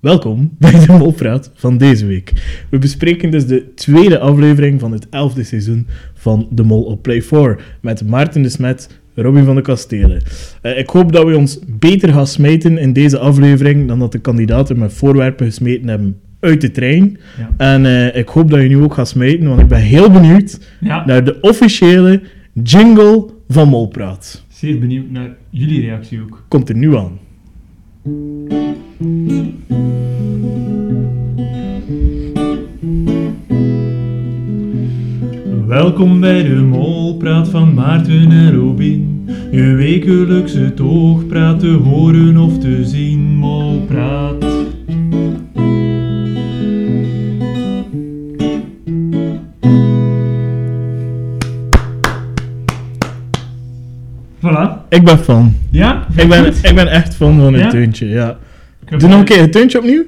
Welkom bij de Molpraat van deze week. We bespreken dus de tweede aflevering van het elfde seizoen van De Mol op Play 4 met Maarten de Smet, Robbie van de Kastelen. Eh, ik hoop dat we ons beter gaan smijten in deze aflevering dan dat de kandidaten met voorwerpen gesmeten hebben uit de trein. Ja. En eh, ik hoop dat je nu ook gaat smijten, want ik ben heel benieuwd Ja, naar de officiële jingle van Molpraat. zeer benieuwd naar jullie reactie ook. Komt er nu aan. Welkom bij de Molpraat van Maarten en Robin. Je wekelijkse toogpraat te horen of te zien, Molpraat. Voilà. Ik ben fan. Ja? Ik ben, ik ben echt fan van het Ja? deuntje, ja. Ik heb- Doe nog een keer het deuntje opnieuw.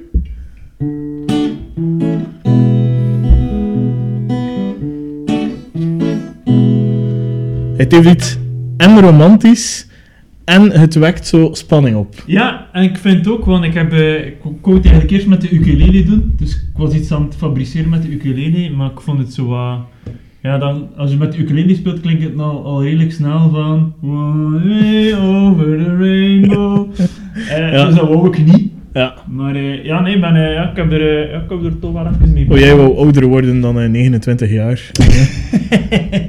Het heeft iets en romantisch en het wekt zo spanning op. Ja, en ik vind het ook, want ik, heb, eh, ik kon het eigenlijk eerst met de ukulele doen. Dus ik was iets aan het fabriceren met de ukulele, maar ik vond het zo wat... Ja, dan, als je met de ukulele speelt, klinkt het al, al redelijk snel van... One way over the rainbow. Eh, Ja. Dus dat wou ik niet. Ja. Maar eh, ja, nee, ik ben, eh, ja, ik, heb er, eh, ja, ik heb er toch wel even mee Oh, jij wou ouder worden dan eh, 29 jaar.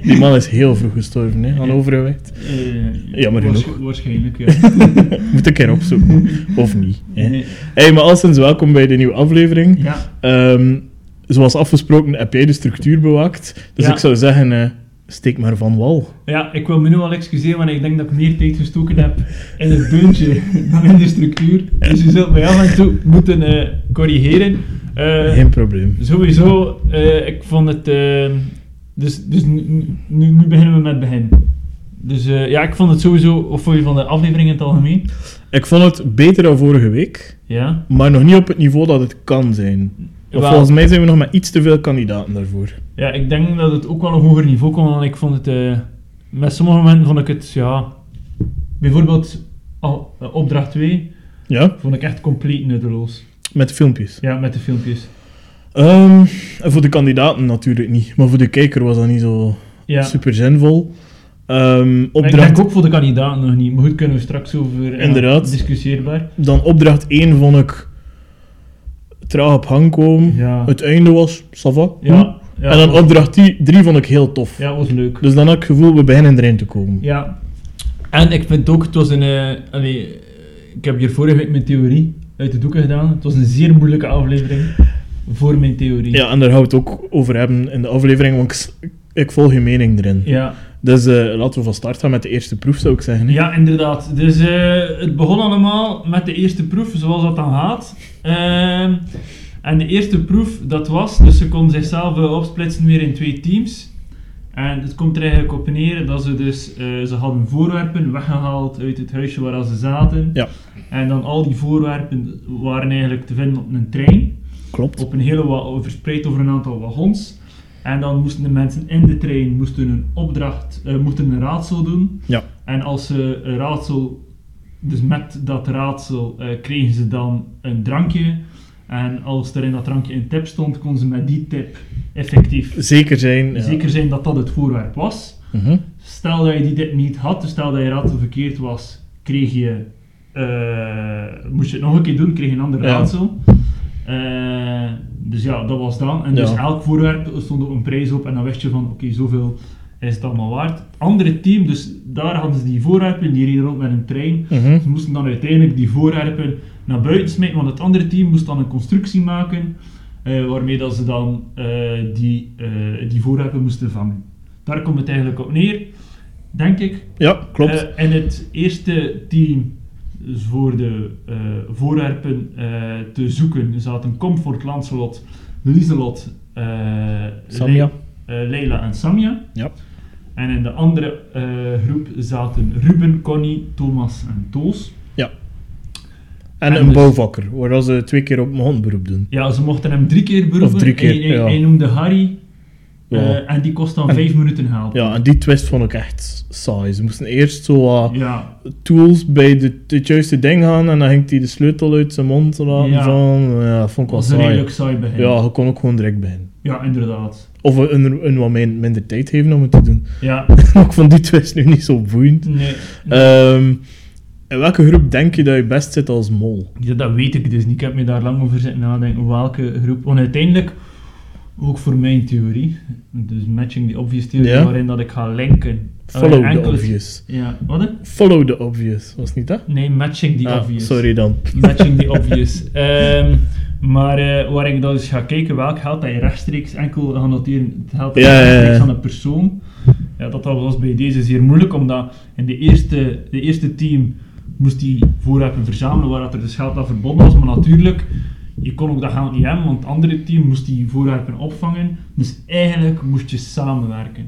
Die man is heel vroeg gestorven, hè, aan overgewicht. Eh, Jammer waarsch- genoeg. Waarschijnlijk, ja. Moet ik een keer opzoeken. Of niet. Hè. Nee, Hey, maar alleszins welkom bij de nieuwe aflevering. ja. Ehm, zoals afgesproken heb jij de structuur bewaakt. Dus Ja. ik zou zeggen, eh, steek maar van wal. Ja, ik wil me nu al excuseren, want ik denk dat ik meer tijd gestoken heb in het deuntje dan in de structuur. Dus je zult mij af en toe moeten eh, corrigeren. Eh, Geen probleem. sowieso, eh, ik vond het... eh, dus dus nu, nu, nu beginnen we met het begin. Dus eh, ja, ik vond het sowieso... Of vond je van de aflevering in het algemeen? Ik vond het beter dan vorige week, Ja. maar nog niet op het niveau dat het kan zijn. Want Wel, volgens mij zijn we nog maar iets te veel kandidaten daarvoor. Ja, ik denk dat het ook wel een hoger niveau kon, want ik vond het... eh, met sommige momenten vond ik het, ja... Bijvoorbeeld al- eh, opdracht 2 Ja, vond ik echt compleet nutteloos. met filmpjes. Ja, met de filmpjes. Ehm, en voor de kandidaten natuurlijk niet, maar voor de kijker was dat niet zo Ja. super zinvol. Ehm, Ik denk opdracht, ook voor de kandidaat nog niet. Maar goed, kunnen we straks over ja, Inderdaad. discussieerbaar. dan opdracht 1 vond ik traag op hang komen. Ja. Het einde was, Hm? sava. Ja. ja en dan was- opdracht 3 vond ik heel tof. Ja, was leuk. Dus dan had ik het gevoel, we beginnen erin te komen. Ja. En ik vind ook, het was een... eh, allee, eh, ik heb hier vorige week mijn theorie uit de doeken gedaan. Het was een zeer moeilijke aflevering voor mijn theorie. Ja, en daar gaan we het ook over hebben in de aflevering, want ik, s- ik volg je mening erin. Ja, Dus eh, laten we van start gaan met de eerste proef, zou ik zeggen. hè. Ja, inderdaad. Dus eh, het begon allemaal met de eerste proef, zoals dat dan gaat. Ehm, en de eerste proef, dat was, dus ze konden zichzelf eh, opsplitsen weer in twee teams. En het komt er eigenlijk op neer dat ze dus, eh, ze hadden voorwerpen weggehaald uit het huisje waar ze zaten. Ja. En dan al die voorwerpen waren eigenlijk te vinden op een trein Klopt. op een hele wa- verspreid over een aantal wagons. En dan moesten de mensen in de trein moesten een opdracht, eh, moesten een raadsel doen. Ja. En als ze een raadsel, dus met dat raadsel eh, kregen ze dan een drankje. En als er in dat drankje een tip stond, konden ze met die tip effectief Zeker zijn. ja. zeker zijn dat dat het voorwerp was. Mhm. Stel dat je die tip niet had, dus stel dat je raadsel verkeerd was, kreeg je, eh, moest je het nog een keer doen, kreeg je een ander Ja. raadsel. Eh, dus ja, dat was dan. En dus Ja. elk voorwerp stond ook een prijs op en dan wist je van, oké, zoveel is het allemaal waard. Het andere team, dus daar hadden ze die voorwerpen, die reden rond met een trein. Mhm. Ze moesten dan uiteindelijk die voorwerpen naar buiten smijten, want het andere team moest dan een constructie maken eh, waarmee dat ze dan eh, die, eh, die voorwerpen moesten vangen. Daar komt het eigenlijk op neer, denk ik. Ja, klopt. Eh, en het eerste team dus voor de eh, voorwerpen eh, te zoeken zaten Comfort, Lancelot, Lieselot, eh, Samia. Le- eh, Leila en Samia. ja. En in de andere eh, groep zaten Ruben, Connie, Thomas en Toos. ja. En, En een dus- bouwvakker, waar ze twee keer op mijn handberoep doen. Ja, ze mochten hem drie keer beroepen. Of drie keer, Hij- hij- ja. hij noemde Harry Ja. Eh, en die kost dan En- 5 minuten helpen. Ja, en die twist vond ik echt saai. Ze moesten eerst zo wat Ja, tools bij de, het juiste ding gaan en dan ging hij de sleutel uit zijn mond laten Ja. vallen. Ja, dat vond ik dat wel was een saai. redelijk saai begin. Ja, je kon ook gewoon direct beginnen. Ja, inderdaad. Of een, een wat min- minder tijd geven om het te doen. Ja, ik vond die twist nu niet zo boeiend. nee. Ehm, in welke groep denk je dat je best zit als mol? Ja, dat weet ik dus niet. Ik heb me daar lang over zitten nadenken welke groep. Want uiteindelijk, ook voor mijn theorie, dus matching the obvious theorie, Ja. waarin dat ik ga linken. Follow Alleen the enkele- obvious. Ja, wat? hè? Follow the obvious, was niet dat? Nee, matching the Ah, obvious. Sorry dan. Matching the obvious. Ehm, maar eh, waar ik dan dus ga kijken welk geld dat je rechtstreeks enkel gaat noteren, het geld dat je Ja, ja, ja. rechtstreeks aan een persoon. Ja, dat was bij deze zeer moeilijk, omdat in de eerste, de eerste team moest die voorwerpen verzamelen waar dat er dus geld aan verbonden was. Maar natuurlijk, je kon ook dat geld niet hebben, want het andere team moest die voorwerpen opvangen. Dus eigenlijk moest je samenwerken.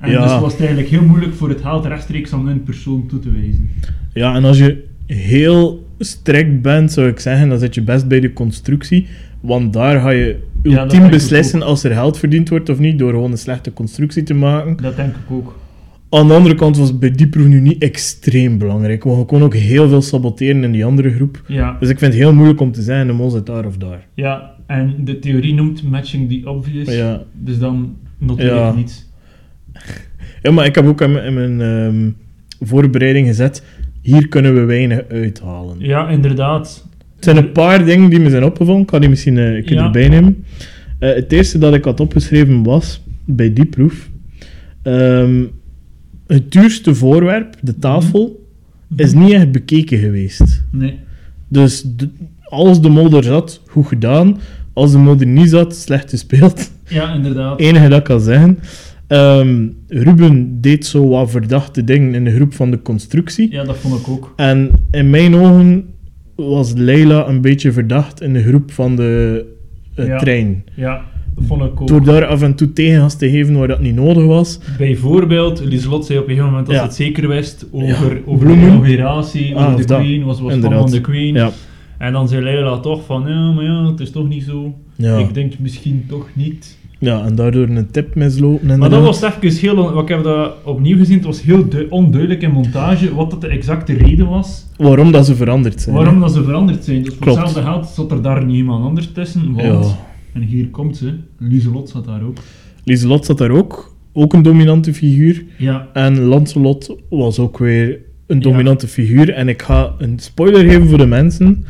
En Ja. dus was het eigenlijk heel moeilijk voor het geld rechtstreeks aan een persoon toe te wijzen. Ja, en als je heel strikt bent, zou ik zeggen, dan zit je best bij de constructie. Want daar ga je Ja, dat ultiem denk ik beslissen als er geld verdiend wordt of niet, door gewoon een slechte constructie te maken. Dat denk ik ook. Aan de andere kant was het bij die proef nu niet extreem belangrijk, want je kon ook heel veel saboteren in die andere groep. Ja. Dus ik vind het heel moeilijk om te zeggen, de mol zit daar of daar. Ja, en de theorie noemt matching the obvious. Ja, Dus dan noteer Ja. ik niets. ja maar ik heb ook in mijn, in mijn ehm, voorbereiding gezet, hier kunnen we weinig uithalen. Ja, inderdaad. Het zijn een paar dingen die me zijn opgevallen. Ik kan die misschien eh, een keer Ja. erbij nemen. Eh, het eerste dat ik had opgeschreven was, bij die proef, ehm, het duurste voorwerp, de tafel, Mhm. is niet echt bekeken geweest. Nee. Dus de- als de mol er zat, goed gedaan. Als de mol er niet zat, slecht gespeeld. Ja, inderdaad. enige dat ik kan zeggen. Ehm, Ruben deed zo wat verdachte dingen in de groep van de constructie. Ja, dat vond ik ook. En in mijn ogen was Leila een beetje verdacht in de groep van de eh, Ja. trein. Ja, dat vond ik ook. Door daar af en toe tegengas te geven waar dat niet nodig was. Bijvoorbeeld, Lieslot zei op een gegeven moment dat Ja. ze het zeker wist over, over de bloemen. inauguratie, Ah, over of de dat. Queen, was, was Inderdaad. fan van de Queen. Ja. En dan zei Leila toch van, ja, maar ja, het is toch niet zo. Ja. Ik denk misschien toch niet. ja, en daardoor een tip mislopen. Maar dat inderdaad. was even heel... on- Ik heb dat opnieuw gezien. Het was heel du- onduidelijk in montage wat dat de exacte reden was. Waarom dat ze veranderd zijn. Waarom dat ze veranderd zijn. Dus voor Klopt. hetzelfde geld zat er daar niet iemand anders tussen. Want, Ja. en hier komt ze, Lieselot zat daar ook. Lieselot zat daar ook. Ook een dominante figuur. Ja, En Lancelot was ook weer een dominante figuur. En ik ga een spoiler geven voor de mensen.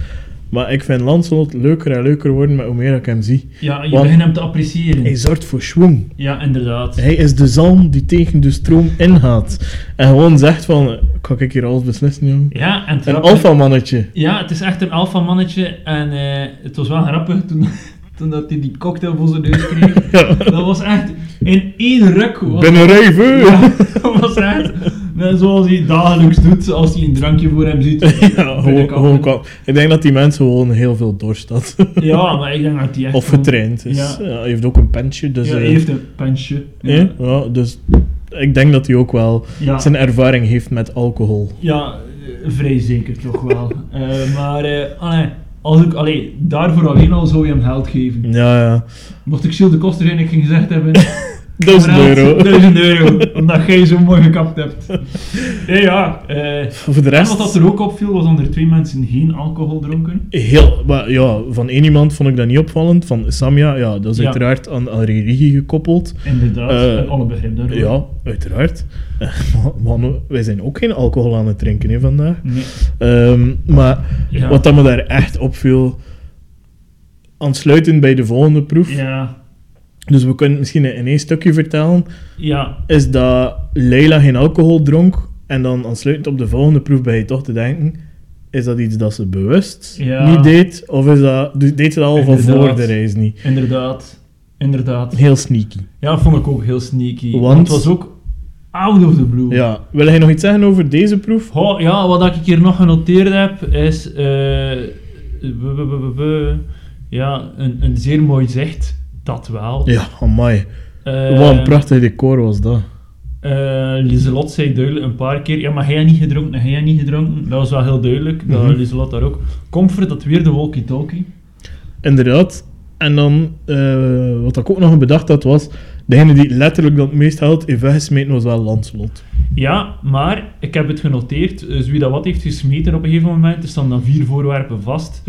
Maar ik vind Lancelot leuker en leuker worden met hoe meer ik hem zie. ja je Want- begint hem te appreciëren. Hij zorgt voor schwung. Ja, inderdaad. Hij is de zalm die tegen de stroom ingaat. En gewoon zegt van, eh, kan ik hier alles beslissen, jongen? Ja, en het Een grappige- alfamannetje. Ja, het is echt een alfa mannetje. En eh, het was wel grappig toen, toen dat hij die cocktail voor zijn neus kreeg. Ja. dat was echt in één ruk. was- Ben een rijver! Ja, dat was echt net zoals hij dagelijks doet als hij een drankje voor hem ziet. Ja, gewoon, gewoon kwam. Ik denk dat die mensen gewoon heel veel dorst had. Ja, maar ik denk dat hij echt... of gewoon- getraind is. Ja. Ja. hij heeft ook een pensje, dus... ja, hij eh, heeft een pensje. eh, ja, dus ik denk dat hij ook wel Ja, zijn ervaring heeft met alcohol. ja eh, vrij zeker toch wel. Eh, maar eh, allee, als ik, allee, daarvoor alleen al zou je hem geld geven. Ja, ja. Mocht ik Gilles de Koster zijn, ik ging gezegd hebben... Duizend "Kameraad, euro. 1000 euro, omdat jij zo mooi gekapt hebt. Nee, ja. eh, Voor de en rest... wat dat er ook opviel, was dat er twee mensen geen alcohol dronken. Heel, maar ja, van één iemand vond ik dat niet opvallend. Van Samia, ja, dat is Ja. uiteraard aan, aan Riri gekoppeld. Inderdaad, Eh, en alle begrip daarvoor. Ja, uiteraard. Eh, maar- Mannen, wij zijn ook geen alcohol aan het drinken hè, vandaag. Nee. Ehm, maar Ja. wat dat me daar echt opviel, aansluitend bij de volgende proef, Ja, dus we kunnen het misschien in één stukje vertellen, ja, is dat Leila geen alcohol dronk en dan aansluitend op de volgende proef ben je toch te denken, is dat iets dat ze bewust Ja. niet deed, of is dat, dus deed ze dat al van Inderdaad. voor de reis niet? inderdaad. Inderdaad. Heel sneaky. Ja, vond ik ook heel sneaky. Want? Want, het was ook out of the blue. Ja, wil jij nog iets zeggen over deze proef? Goh, ja, wat ik hier nog genoteerd heb, is... eh, w- w- w- w- ja, een, een zeer mooi zicht. Dat wel. Ja, amai. Eh, Wat een prachtig decor was dat. eh, Lieselot zei duidelijk een paar keer... Ja, maar hij had niet gedronken, en hij had niet gedronken. Dat was wel heel duidelijk. Dat Mhm. Lieselot daar ook... Comfort, dat weer de walkie-talkie. Inderdaad. En dan, eh, wat ik ook nog bedacht had, was Degene die letterlijk dan het meest geld heeft weggesmeten was wel Lancelot. Ja, maar ik heb het genoteerd. Dus wie dat wat heeft gesmeten op een gegeven moment, er staan dan vier voorwerpen vast.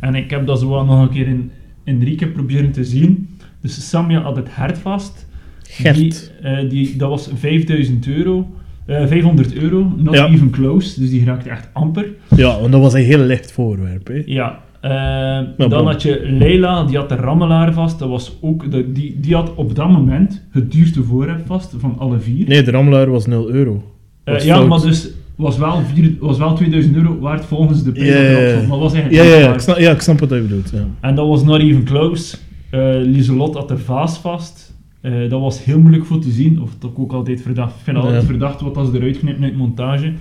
En ik heb dat zo wel nog een keer in, in drie keer proberen te zien. Dus Samja had het hert vast. Gert. Die, eh, die, dat was 5000 euro. eh, 500 euro, not Ja. even close. Dus die raakte echt amper. Ja, want dat was een heel licht voorwerp. Hè. Ja. eh, dan bon. had je Leila, die had de rammelaar vast. Dat was ook de, die, die had op dat moment het duurste voorwerp vast van alle vier. Nee, de rammelaar was 0 euro. Eh, was ja, fout. maar dus was wel, vier, was wel 2000 euro waard volgens de prijs Ja, dat ja, erop ja. stond, Maar was eigenlijk Ja, ja, niet ja, waard. ik snap, ja, ik snap wat je bedoelt. Ja. En dat was not even close. Eh Lieselot had de vaas vast. Eh, dat was heel moeilijk voor te zien, of dat ik ook altijd verdacht. Ik vind altijd Ja. verdacht wat als ze eruit knippen uit montage.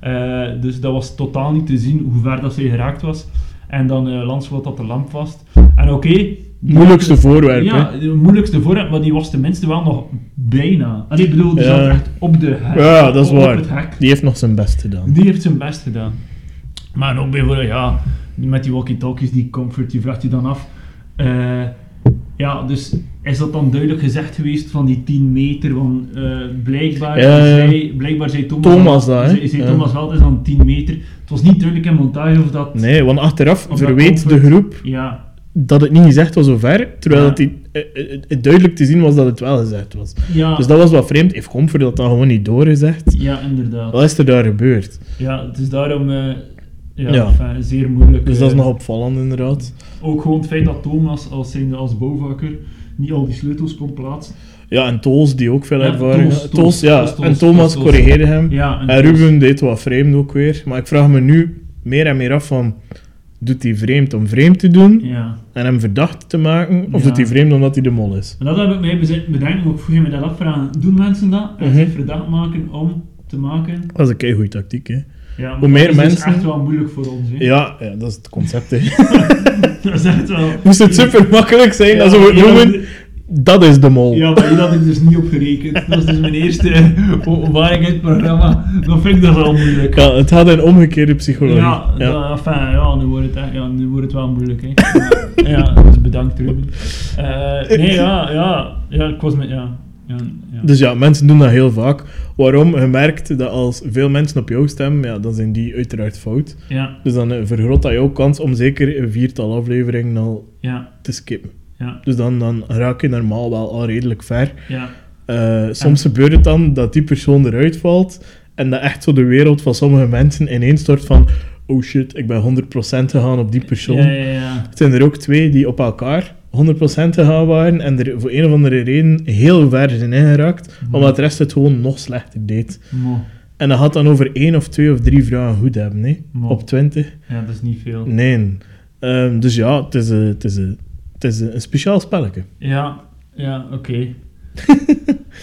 Eh, dus dat was totaal niet te zien hoe ver dat zij geraakt was. En dan eh Lancelot had de lamp vast. En oké. Moeilijkste voorwerp. Ja, Ja, de moeilijkste voorwerp, maar die was tenminste wel nog bijna. Allee, ik bedoel, die Ja. zat echt op de hek. ja dat is op waar. het hek. Die heeft nog zijn best gedaan. Die heeft zijn best gedaan. Maar ook bijvoorbeeld, ja, met die walkie-talkies, die comfort, die vraagt je dan af. eh, ja, dus is dat dan duidelijk gezegd geweest van die 10 meter? Want eh, blijkbaar, Ja, ja, ja. zei, blijkbaar zei Thomas, Thomas dat, hè? zei, zei Ja. Thomas wel, het is dan 10 meter. Het was niet duidelijk in montage of dat... Nee, want achteraf dat verweet de comfort. groep Ja, dat het niet gezegd was zover, terwijl Ja. dat die, eh, eh, eh, duidelijk te zien was dat het wel gezegd was. ja, Dus dat was wat vreemd. Heeft Comfort dat dan gewoon niet doorgezegd? ja, inderdaad. Wat is er daar gebeurd? Ja, het is daarom... eh, ja, Ja. enfin, zeer moeilijk. Dus dat is eh, nog opvallend, inderdaad. Ook gewoon het feit dat Thomas als, zijnde, als bouwvakker niet al die sleutels kon plaatsen. Ja, en Toos, die ook veel Ja, ervaring Toos, had. Toos, Toos, ja. Toos, Toos, en Thomas Toos, Toos. corrigeerde hem. Ja, en en dus- Ruben deed wat vreemd ook weer. Maar ik vraag me nu meer en meer af van... Doet hij vreemd om vreemd te doen Ja. en hem verdacht te maken? Of Ja. doet hij vreemd omdat hij de mol is? En dat heb ik mij bezet- bedenkt, ook vroeg je me dat afvragen. Doen mensen dat? En Mhm. zich verdacht maken om te maken? Dat is een keigoede tactiek, hè. Ja, maar Hoe meer dat is dus mensen- echt wel moeilijk voor ons. Hè. Ja, ja dat is het concept, hè. Dat is echt wel... Moest het super makkelijk zijn, dat Ja, zo ja, noemen... maar- Dat is de mol. Ja, maar hier had ik dus niet op gerekend. Dat is dus mijn eerste openbaring in het programma. Dan vind ik dat wel moeilijk. Ja, het had een omgekeerde psychologie. Ja, Ja. dat- enfin, ja, nu wordt het, echt- ja, nu wordt het wel moeilijk. Hè. Ja, ja, dus bedankt Ruben. Eh, nee, ja, ja, ja, ik was met, ja. ja, ja. Dus ja, mensen doen dat heel vaak. Waarom? Je merkt dat als veel mensen op jou stemmen, ja, dan zijn die uiteraard fout. ja, Dus dan eh, vergroot dat jouw kans om zeker een viertal afleveringen al ja, te skippen. ja, Dus dan, dan raak je normaal wel al redelijk ver. ja. Eh, soms gebeurt het dan dat die persoon eruit valt en dat echt zo de wereld van sommige mensen ineens stort van oh shit, ik ben 100% gegaan op die persoon. Ja, ja, ja. Het zijn er ook twee die op elkaar 100% gegaan waren en er voor een of andere reden heel ver zijn ingeraakt, Mhm. omdat de rest het gewoon nog slechter deed. Mo. En dat gaat dan over één of twee of drie vragen goed hebben, hè? Mo. op 20. Ja, dat is niet veel. Nee. Ehm, dus ja, het is, een- het, is een- het is een een speciaal spelletje. Ja, ja, oké.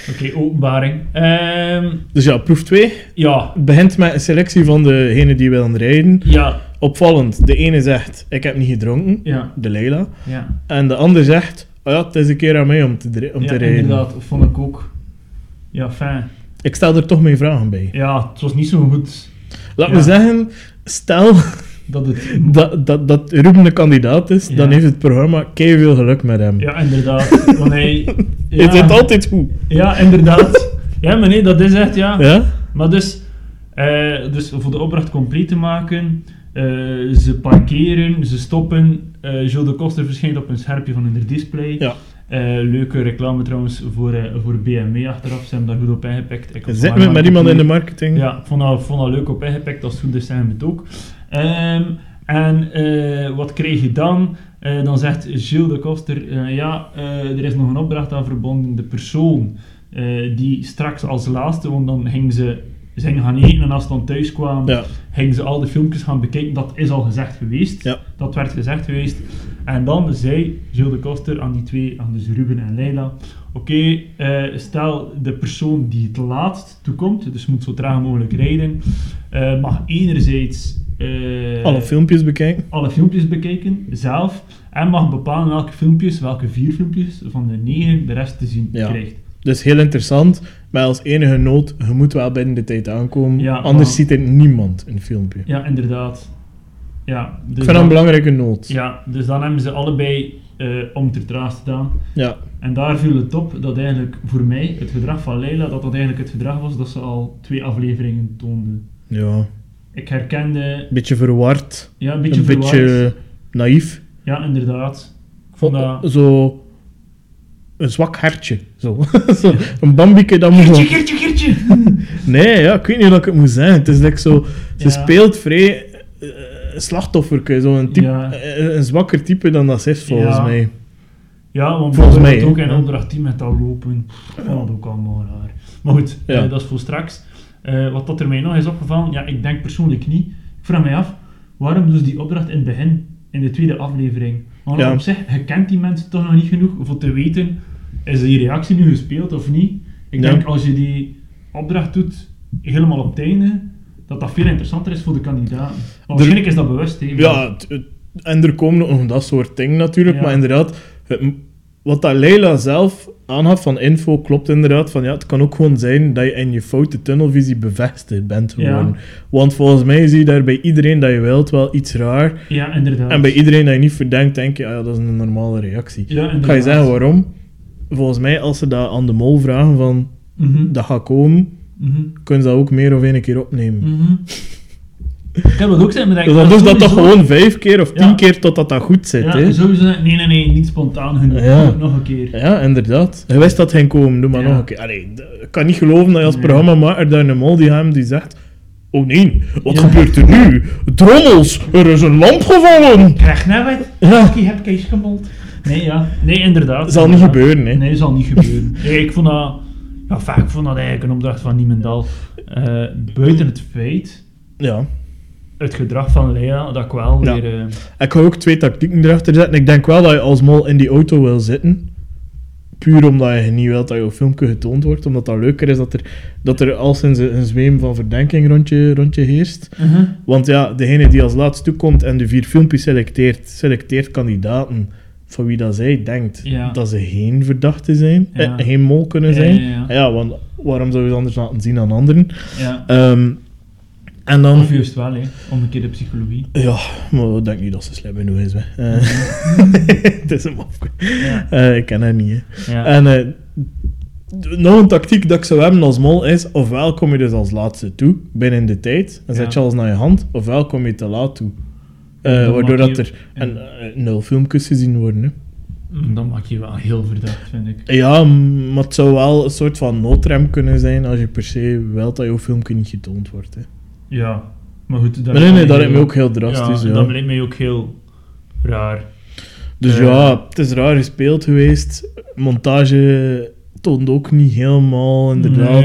oké, openbaring. Ehm, Dus ja, proef 2 ja, begint met een selectie van degenen die willen rijden. ja, Opvallend, de ene zegt, ik heb niet gedronken, ja, de Leila. ja. En de ander zegt, oh ja, het is een keer aan mij om te, dri- om ja, te rijden. inderdaad, dat vond ik ook. Ja, fijn. Ik stel er toch mijn vragen bij. Ja, het was niet zo goed Laat Ja. me zeggen, stel dat het... dat, dat, dat Ruben de kandidaat is, Ja. dan heeft het programma keihard veel geluk met hem. Ja, inderdaad. Want hij... Ja, Het zit altijd goed. Ja, inderdaad. Ja, maar nee, dat is echt, ja. Ja? Maar dus, eh, dus voor de opdracht compleet te maken, eh, ze parkeren, ze stoppen. eh Jules de Koster verschijnt op een schermpje van in de display. Ja. Eh, leuke reclame trouwens voor, eh, voor BMW achteraf. Ze hebben daar goed op ingepikt. Ik had Zit maar met, met maar iemand in de gekeken. marketing? Ja, ik vond dat, vond dat leuk op ingepikt. Als het goed is, zeggen we het ook. Ehm, en eh, wat kreeg je dan? Eh, dan zegt Gilles de Koster, eh, ja, eh, er is nog een opdracht aan verbonden. De persoon eh, die straks als laatste, want dan gingen ze ze gingen gaan eten en als ze dan thuis kwamen, Ja. gingen ze al de filmpjes gaan bekijken. Dat is al gezegd geweest. Ja. Dat werd gezegd geweest. En dan zei Gilles de Koster aan die twee, aan dus Ruben en Leila, oké, eh, stel de persoon die het laatst toekomt, dus moet zo traag mogelijk rijden, eh, mag enerzijds... eh, Alle filmpjes bekijken. alle filmpjes bekijken, zelf, en mag bepalen welke filmpjes, welke vier filmpjes van de negen de rest te zien Ja. krijgt. Dus heel interessant. Maar als enige nood, je moet wel binnen de tijd aankomen. Ja, anders maar- ziet er niemand een filmpje. Ja, inderdaad. Ja, dus Ik vind dat een dan- belangrijke noot. Ja. Ja, dus dan hebben ze allebei eh om ter draad gedaan. Ja. En daar viel het op dat eigenlijk voor mij het gedrag van Leila, dat dat eigenlijk het gedrag was dat ze al twee afleveringen toonde. Ik herkende, Een beetje verward. ja, een beetje een verward. beetje naïef. Ja, inderdaad. Ik vond Oh, dat... Zo... Een zwak hartje. Zo. zo. Een bambieke dat moet... Geertje, zo- geertje, geertje! Nee, ja, ik weet niet hoe ik het moet zeggen. Het is dat ik zo... Ze Ja. speelt vrij eh, slachtofferke. Zo een, type, Ja. eh, een zwakker type dan dat ze is, volgens Ja. mij. Ja, want Volgens Volgens mij, mij, ook hè. in opdracht 10 met dat lopen. Ik vond dat ook allemaal raar. Maar goed, Ja. eh, dat is voor straks. Eh, wat dat er mij nog is opgevallen, ja, ik denk persoonlijk niet. Ik vraag mij af, waarom doen ze die opdracht in het begin, in de tweede aflevering? Want Ja. op zich, je kent die mensen toch nog niet genoeg voor te weten, is die reactie nu gespeeld of niet? Ik Ja. denk als je die opdracht doet, helemaal op het einde, dat dat veel interessanter is voor de kandidaten. Maar waarschijnlijk is dat bewust, hè. Ja, het- het- en er komen ook nog dat soort dingen natuurlijk, Ja. maar inderdaad, het m- wat dat Leila zelf aangaf van info klopt inderdaad, van ja, het kan ook gewoon zijn dat je in je foute tunnelvisie bevestigd bent Ja. gewoon. Want volgens mij zie je daar bij iedereen dat je wilt wel iets raar, Ja, inderdaad. en bij iedereen dat je niet verdenkt, denk je, ah ja, dat is een normale reactie. Ja, Ik ga je inderdaad. zeggen waarom? Volgens mij, als ze dat aan de mol vragen van, Mhm, dat gaat komen, mhm. kunnen ze dat ook meer of één keer opnemen. Mhm. Ik heb dat ook zijn bedenkt. Dus dan maar doen ze dat toch sowieso- gewoon vijf keer of tien Ja. keer totdat dat goed zit, Ja, hè? sowieso. Nee, nee, nee, niet spontaan genoeg. Ja. Doe het Nog een keer. Ja, inderdaad. Je wist dat hij komen, doe maar Ja. nog een keer. Allee, d- ik kan niet geloven dat je als Nee. programmamaker daar een mol die hem die zegt... Oh nee, wat Ja. gebeurt er nu? Drommels, er is een lamp gevallen! Krijg nou wat? Ja. Ik heb Kees gemold. Nee, ja. Nee, inderdaad. Zal niet inderdaad. gebeuren, hè. Nee, zal niet gebeuren. Nee, ik vond dat... Ja, vaak ik vond dat eigenlijk een opdracht van Niemendal. Eh, buiten het feit, Ja. het gedrag van Lea, dat ik wel Ja. weer... eh, Ik ga ook twee tactieken erachter zetten. Ik denk wel dat je als mol in die auto wil zitten. Puur omdat je niet wilt dat jouw filmpje getoond wordt. Omdat dat leuker is dat er, dat er al sinds een een zweem van verdenking rond je, rond je heerst. mhm. Want ja, degene die als laatst toekomt en de vier filmpjes selecteert, selecteert kandidaten van wie dat zij denkt Ja. dat ze geen verdachte zijn, Ja. eh, geen mol kunnen Ja, zijn. ja, ja. want waarom zou je ze anders laten zien aan anderen? Ja. Ehm, en dan... Of juist wel, hè. Om een keer de psychologie. Ja, maar ik denk niet dat ze slim genoeg is. hè. Eh, het is een mafke. Mhm. Ja. Eh, ik ken haar niet, hè. Ja. En eh, d- nog een tactiek dat ik zou hebben als mol is, ofwel kom je dus als laatste toe, binnen de tijd, en Ja. zet je alles naar je hand, ofwel kom je te laat toe. Eh, Ja, dat waardoor maakt dat niet- er en, eh, nul filmpjes gezien worden. Hè. dat maak je wel heel verdacht, vind ik. Ja, m- maar het zou wel een soort van noodrem kunnen zijn als je per se wilt dat jouw filmpje niet getoond wordt. Hè. Ja, maar goed. dat Maar nee, lijkt nee, dat mij lijkt me heel- ook heel drastisch. Ja, Ja, dat lijkt mij ook heel raar. Dus Eh. ja, het is raar gespeeld geweest. Montage toont ook niet helemaal inderdaad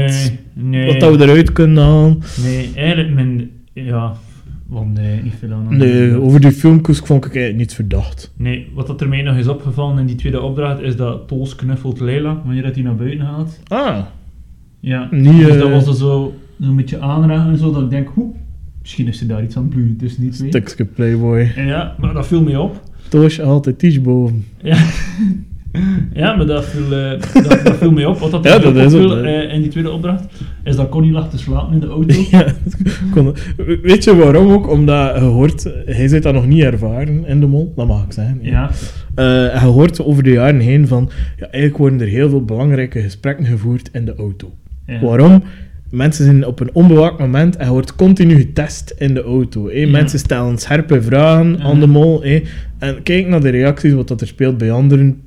Nee, nee, wat dat we eruit kunnen halen. nee eigenlijk mijn... Ja, want nee, niet veel aan. Nee, over die filmpjes vond ik eigenlijk niet verdacht. Nee, wat dat er mij nog is opgevallen in die tweede opdracht is dat Toos knuffelt Leila wanneer dat hij naar buiten gaat. Ah, Ja, Niet, dus dat eh, was er zo een beetje aanraken en zo, dat ik denk, hoe, misschien is ze daar iets aan het bloeien tussen die twee. tekstje Playboy. En ja, maar dat viel mij op. Toosje altijd iets boven. Ja, ja maar dat viel, eh, dat, dat viel mij op. Wat dat er Ja, mij dat ook is opviel, het, hè. eh, in die tweede opdracht, is dat Connie lag te slapen in de auto. Ja, ik kon- weet je waarom ook? Omdat je hoort, hij zit dat nog niet ervaren in de mol, dat mag ik zeggen. Ja, Eh, je hoort over de jaren heen van, ja, eigenlijk worden er heel veel belangrijke gesprekken gevoerd in de auto. ja. Waarom? Mensen zijn op een onbewaakt moment en je wordt continu getest in de auto. Hé. Ja. Mensen stellen scherpe vragen aan de mol. Hé. En kijk naar de reacties, wat dat er speelt bij anderen.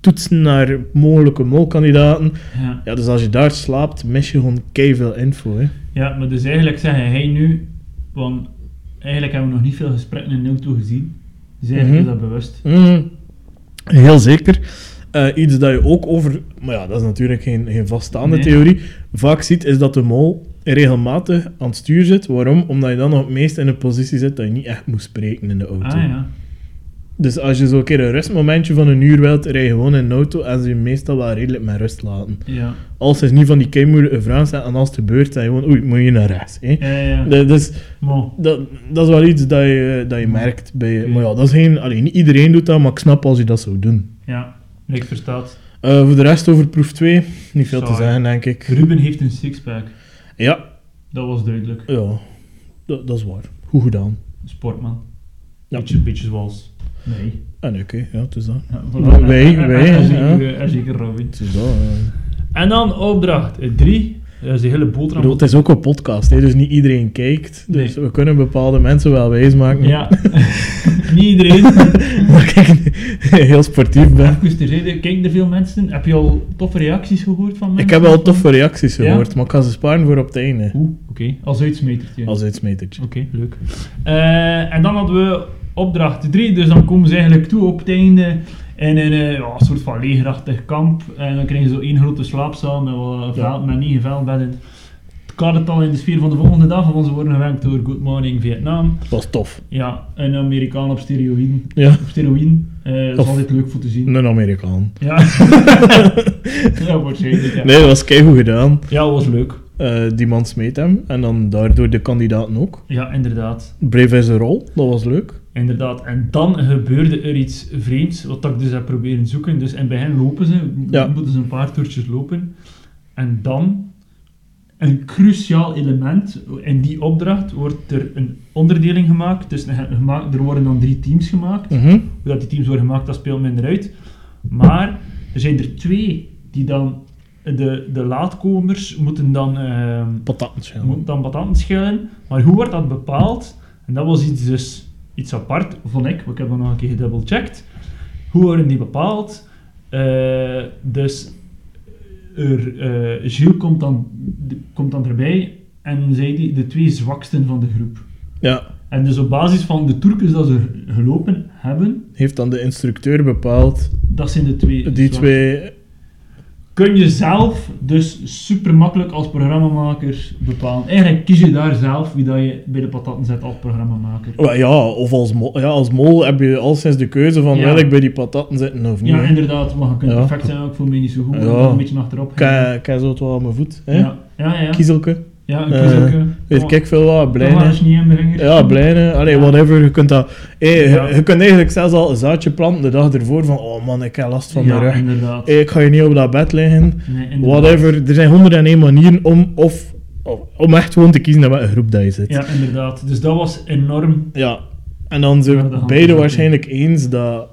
Toetsen naar mogelijke molkandidaten. Ja. Ja, dus als je daar slaapt, mis je gewoon veel info. Hè. Ja, maar dus eigenlijk zeggen hij nu, want eigenlijk hebben we nog niet veel gesprekken in de auto gezien. Dus eigenlijk Mhm. is dat bewust. Mm, heel zeker. Eh, iets dat je ook over... Maar ja, dat is natuurlijk geen, geen vaststaande Nee. theorie. Vaak ziet is dat de mol regelmatig aan het stuur zit. Waarom? Omdat je dan nog het meest in een positie zit dat je niet echt moet spreken in de auto. Ah ja. Dus als je zo een keer een rustmomentje van een uur wilt, rij je gewoon in een auto en ze je meestal wel redelijk met rust laten. Ja. Als ze niet van die keimoeilijke vragen zijn en als het gebeurt, dan je gewoon, oei, moet je naar rechts. Hè? Ja, ja, ja. Dat- Dus Mo. dat, dat is wel iets dat je, dat je merkt. Bij, Oké. maar ja, dat is geen, allee, niet iedereen doet dat, maar ik snap als je dat zou doen. Ja, ik verstaat. Eh, voor de rest over proef 2, niet veel te Saai. zeggen, denk ik. Ruben heeft een sixpack. Ja, Dat was duidelijk. Eh. ja dat, dat is waar. Goed gedaan. Sportman. Ja. Beetje, beetje zoals... Nee. Ah, nee, oké. Ja, het is dat. Ja, Wij- wij, en- wij, en- en ja. zeker- En zeker Robin. Het is dat. eh. En dan opdracht 3. Dat is die hele Ik boterham. bedoel, het is ook een podcast, hè, dus niet iedereen kijkt. Dus Nou. Nee. we kunnen bepaalde mensen wel wijsmaken Ja. Niet iedereen. dat ik heel sportief ben. Even terzijde, kijken er veel mensen? Heb je al toffe reacties gehoord van mensen? Ik heb al toffe reacties Ja? gehoord, maar ik ga ze sparen voor op het einde. Oeh, oké. Als uitsmetertje. Als uitsmetertje. Oké, leuk. Eh, en dan hadden we opdracht 3, dus dan komen ze eigenlijk toe op het einde in een eh, ja, soort van legerachtig kamp. En dan krijgen ze zo één grote slaapzaal met, wat Ja. veld, met negen veldbedden. Het kadert al in de sfeer van de volgende dag, want ze worden gewenkt door Good Morning Vietnam. Dat was tof. Ja, een Amerikaan op steroïden. Ja, Op steroïden. Eh, dat Tof. is altijd leuk voor te zien. een Amerikaan. Ja. ja, waarschijnlijk. Ja. Nee, dat was keigoed gedaan. ja, was leuk. Eh, die man smeet hem en dan daardoor de kandidaten ook. Ja, inderdaad. Brave is een rol, dat was leuk. Inderdaad. En dan gebeurde er iets vreemds, wat ik dus heb proberen zoeken. Dus in het begin lopen ze, m- Ja. moeten ze een paar toertjes lopen. En dan, een cruciaal element, in die opdracht wordt er een onderdeling gemaakt. Dus er ge- gemaakt- er worden dan drie teams gemaakt. Mhm. Hoe dat die teams worden gemaakt, dat speelt minder uit. Maar er zijn er twee die dan, de, de laatkomers moeten dan... ehm, Patatensjel. Je moet dan patanten schillen. Maar hoe wordt dat bepaald? En dat was iets, dus, iets apart, vond ik. want Ik heb dat nog een keer gedubbelcheckt. Hoe worden die bepaald? Eh, dus er, eh, Gilles komt dan, de- komt dan erbij en zei die de twee zwaksten van de groep. Ja, En dus op basis van de Turkens dat ze gelopen hebben, heeft dan de instructeur bepaald. dat zijn de twee. Die zwaksten. twee... Kun je zelf dus super makkelijk als programmamaker bepalen. Eigenlijk kies je daar zelf wie dat je bij de patatten zet als programmamaker. Wel, Oh, Ja, of als mol, ja, als mol heb je al sinds de keuze van Ja. wil ik bij die patatten zitten of niet. Ja, hè. inderdaad, maar je kunt Ja. perfect zijn, ook voor mij niet zo goed. Ja. Ik ben Een beetje achterop. Ik heb- Ik heb zo het wel aan mijn voet. Hè? Ja, ja, ja. Kiezelke. Ja, ik Eh, kies ook. eh, Weet maar- ik veel wat, maar dat blijne. is niet in mijn vinger. Ja, blijne. Allee, whatever. Je kunt, dat, hey, je- Ja. je, kunt eigenlijk zelfs al een zaadje planten de dag ervoor van oh man, ik heb last van ja, mijn rug. inderdaad. Hey, ik ga je niet op dat bed liggen. Nee, inderdaad. Eh, Whatever, er zijn 101 manieren om, of, of- om echt gewoon te kiezen naar welke groep dat je zit. Ja, inderdaad. Dus dat was enorm. Ja. En dan zijn Ja, we dat gaan we dus beide zo waarschijnlijk eens dat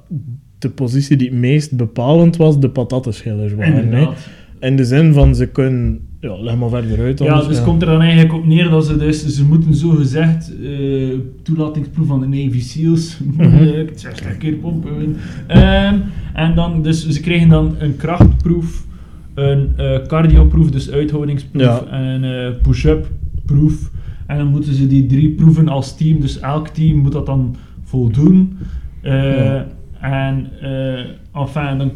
de positie die het meest bepalend was, de patatenschillers waren. hè. Inderdaad. In de zin van ze kunnen... Ja, leg maar verder uit. Ja, anders, dus komt er dan eigenlijk op neer dat ze dus, ze moeten zogezegd eh toelatingsproef van de Navy Seals, Mhm. moeilijk, 60 keer pompen. Ehm, en dan, dus ze kregen dan een krachtproef, een eh cardioproef, dus uithoudingsproef, Ja. en een eh, push-up proef. En dan moeten ze die drie proeven als team, dus elk team moet dat dan voldoen. Eh, Ja. En, eh enfin, dan...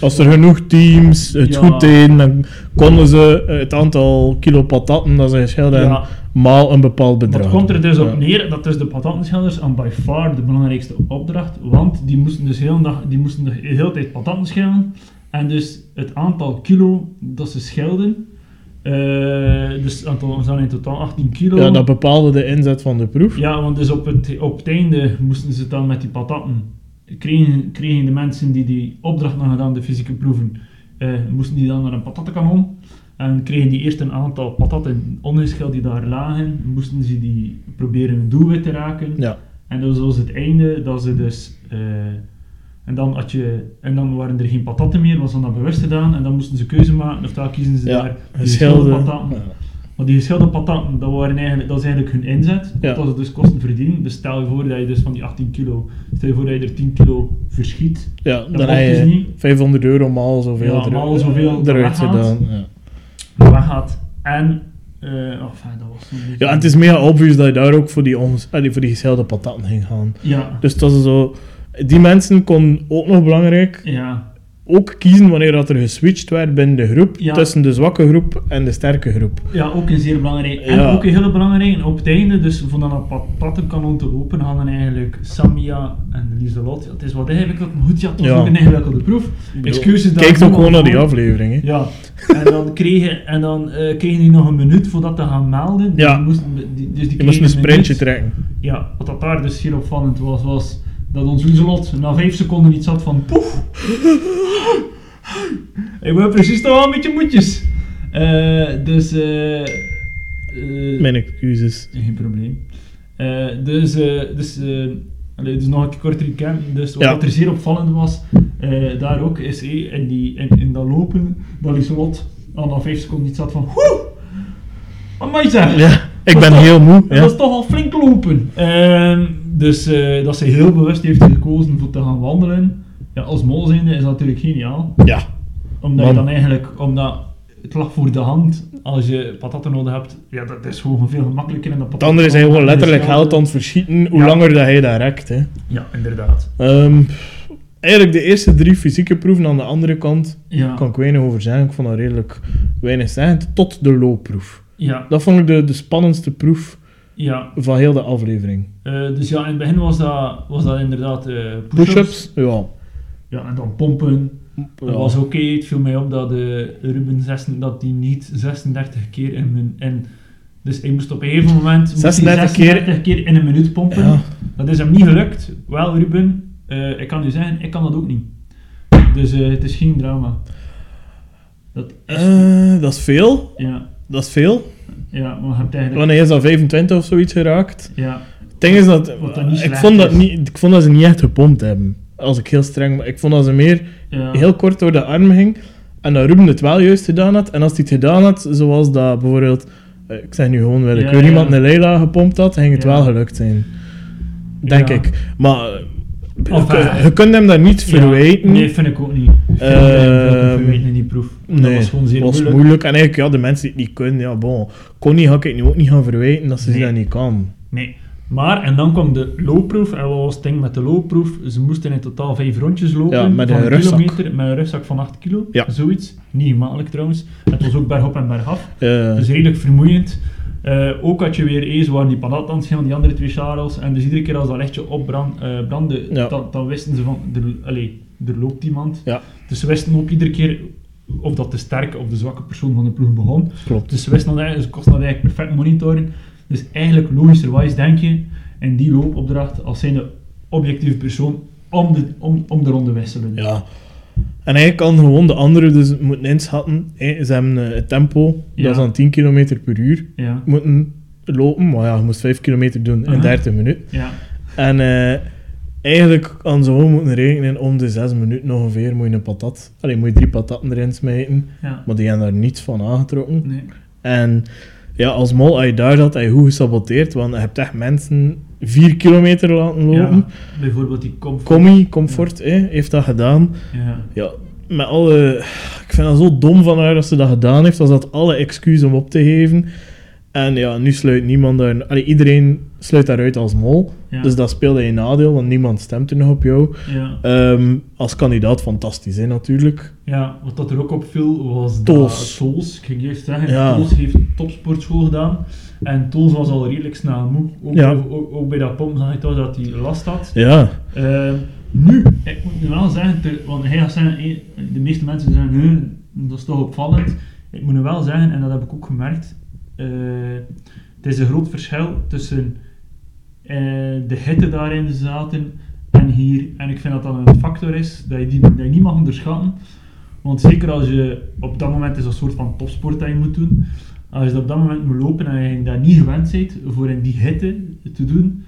Als er genoeg teams het Ja. goed deden, dan konden ze het aantal kilo patatten dat ze geschilden Ja. maal een bepaald bedrag. Dat komt er dus op Ja. neer dat dus de patantenschilders aan by far de belangrijkste opdracht, want die moesten dus heel dag, die moesten de hele tijd patanten schillen en dus het aantal kilo dat ze schilden, eh, dus het aantal ze hadden in totaal 18 kilo. Ja, dat bepaalde de inzet van de proef. Ja, want dus op het, op het einde moesten ze dan met die patatten, kregen, kregen de mensen die die opdracht hadden gedaan, de fysieke proeven, eh, moesten die dan naar een patattenkanon. En kregen die eerst een aantal patatten ongeschild die daar lagen, moesten ze die proberen een doelwit te raken. Ja. En dat was het einde, dat ze dus... eh, en, dan had je, en dan waren er geen patatten meer, was dan dat bewust gedaan. En dan moesten ze keuze maken, ofwel kiezen ze Ja, daar die geschilde. geschilde patatten. Want die geschilde patatten, dat, waren eigenlijk, dat is eigenlijk hun inzet, Ja. dat ze dus kosten verdienen. Dus stel je voor dat je dus van die 18 kilo, stel je voor dat je er 10 kilo verschiet. Ja, dan mocht heb dus je niet. 500 euro maal zoveel, Ja, er- maal zoveel eruit dat weghaalt. gedaan. Ja. Weggaat. En, eh enfin, dat was zo'n beetje- ja, en het is mega obvious dat je daar ook voor die, onges- allee, voor die geschilde patatten ging gaan. Ja, Dus dat is zo... Die mensen konden ook nog belangrijk ja, ook kiezen wanneer dat er geswitcht werd binnen de groep, Ja. tussen de zwakke groep en de sterke groep. ja, ook een zeer belangrijk. En Ja. ook een hele belangrijke, op het einde, dus van dat patattenkanon te lopen, hadden eigenlijk Samia en Lieselot. Ja, het is wat ingewikkeld, maar goed, ja, het was Ja. ook een ingewikkelde proef. Excuses Kijk daarvoor, toch gewoon naar die maar- aflevering, hè. Ja, en dan kregen, en dan, eh, kregen die nog een minuut voordat te gaan melden. Dus Ja. die moesten, die, dus die Je moest kregen een sprintje minuut. trekken. Ja, wat dat daar dus heel opvallend was, was dat ons Lieselot na vijf seconden iets had van poef. Ik ben precies toch wel een beetje moedjes. Eh, dus, eh... eh, Mijn excuses. geen probleem. Eh, dus eh, dus eh, Allee, dus nog een keer kort recap. Dus wat Ja. er zeer opvallend was, eh, daar ook, is eh, in, die, in, in dat lopen, dat Lieselot al na 5 seconden iets had van Woe! Amai zeg! Ja, ik Dat is ben toch- heel moe. Dat Ja. is toch al flink lopen. Ehm, dus eh, dat ze heel bewust heeft gekozen voor te gaan wandelen. Ja, als mol zijnde is dat natuurlijk geniaal. ja, Omdat je Man. dan eigenlijk, omdat het lag voor de hand, als je patatten nodig hebt, ja, dat is gewoon veel gemakkelijker. En Oh, dat het andere is hij gewoon letterlijk geld aan het verschieten, hoe Ja. langer dat hij dat rekt. Hè. Ja, inderdaad. Ehm, pff, eigenlijk de eerste drie fysieke proeven aan de andere kant, Ja, kan ik weinig over zeggen. Ik vond dat redelijk weinig zeggen. Tot de loopproef. ja, Dat vond ik de, de spannendste proef ja. van heel de aflevering. Eh, dus ja, in het begin was dat, was dat inderdaad eh, push-ups. Push-ups? Ja. Ja, en dan pompen. Ja. Dat was oké. Het viel mij op dat eh, Ruben 16, dat die niet 36 keer in mijn. In, dus hij moest op een gegeven moment moest hij 36 keer- 36 keer in een minuut pompen. Ja. Dat is hem niet gelukt. Wel, Ruben, eh, ik kan u zeggen, ik kan dat ook niet. Dus eh, het is geen drama. Dat is, Eh, dat is veel. ja, Dat is veel. ja, maar je hebt eigenlijk. Wanneer is dat 25 of zoiets geraakt? Ja, Het ding is dat, Wat dan niet ik, slecht vond dat is. niet, ik vond dat ze niet echt gepompt hebben. Als ik heel streng ben. Ik vond dat ze meer ja, heel kort door de arm ging. En dat Ruben het wel juist gedaan had. En als hij het gedaan had, zoals dat bijvoorbeeld... eh, Ik zeg nu gewoon wel, ik Ja, weet ja. iemand een Leila gepompt had, ging het Ja. wel gelukt zijn. Denk Ja. ik. Maar eh, Of, je, eh, je kunt hem daar niet ja. verwijten. Nee, vind ik ook niet. Ik vind dat je veel moet verwijten in die proef. dat Ehm, Nee, was gewoon zeer was moeilijk. moeilijk. En eigenlijk, ja, de mensen die het niet kunnen, ja, bon. Connie ga ik het nu ook niet gaan verwijten dat ze Nee. dat niet kan. Nee. Maar, en dan kwam de loopproef. En wat was het ding met de loopproef? Ze moesten in totaal vijf rondjes lopen. Ja, met van een rugzak. Kilometer, met een rugzak van 8 kilo. Ja. Zoiets. Niet makkelijk trouwens. Het was ook bergop en bergaf. Eh, Dus redelijk vermoeiend. Eh, ook had je weer eens waar die patat aan het schillen, die andere twee charles. En dus iedere keer als dat lichtje opbrandde, brandde, Ja. dan, dan wisten ze van, er, allee, er loopt iemand. ja, Dus ze wisten ook iedere keer of dat de sterke of de zwakke persoon van de ploeg begon. klopt. Dus ze wisten dat eigenlijk, ze konden dat eigenlijk perfect monitoren. Dus eigenlijk logischerwijs denk je in die loopopdracht als zijnde objectieve persoon om de, om, om de ronde wisselen. Ja. En hij kan gewoon de andere dus moeten inschatten. Hè, Ze hebben eh, het tempo, Ja. dat is aan 10 km per uur, Ja. moeten lopen. Maar ja, je moest 5 kilometer doen in Aha. 30 minuten. ja. En eh, eigenlijk kan ze gewoon moeten rekenen om de 6 minuten ongeveer moet je een patat. Alleen moet je drie patatten erin smijten. ja. Maar die hebben daar niets van aangetrokken. Nee. En ja, als mol, als je daar zat, heb je goed gesaboteerd. Want je hebt echt mensen 4 kilometer laten lopen. Ja. Bijvoorbeeld die comfort. Commie, Comfort, hè, heeft dat gedaan. Ja. Ja, met alle... Ik vind dat zo dom van haar dat ze dat gedaan heeft. Dat ze had alle excuus om op te geven. En ja, nu sluit niemand daar... Allee, iedereen sluit daaruit als mol. Ja. Dus dat speelde je nadeel, want niemand stemt er nog op jou. ja. Ehm, als kandidaat fantastisch, hè, natuurlijk. ja. Wat dat er ook op viel was Toos. dat Toos, ik ging eerst zeggen, Ja. Toos heeft topsportschool gedaan. En Toos was al redelijk snel moe. Ook, Ja. ook, ook- ook bij dat pomp zag ik toch dat hij last had. Ja, Ehm, nu, ik moet nu wel zeggen, te- want hij gaat zeggen, eh, de meeste mensen zeggen, "Huh, dat is toch opvallend. Ik moet nu wel zeggen, en dat heb ik ook gemerkt, eh, het is een groot verschil tussen eh, de hitte daarin zaten en hier. En ik vind dat dat een factor is, dat je die dat je niet mag onderschatten. Want zeker als je op dat moment is dat een soort van topsport dat je moet doen. Als je dat op dat moment moet lopen en je dat niet gewend bent voor in die hitte te doen,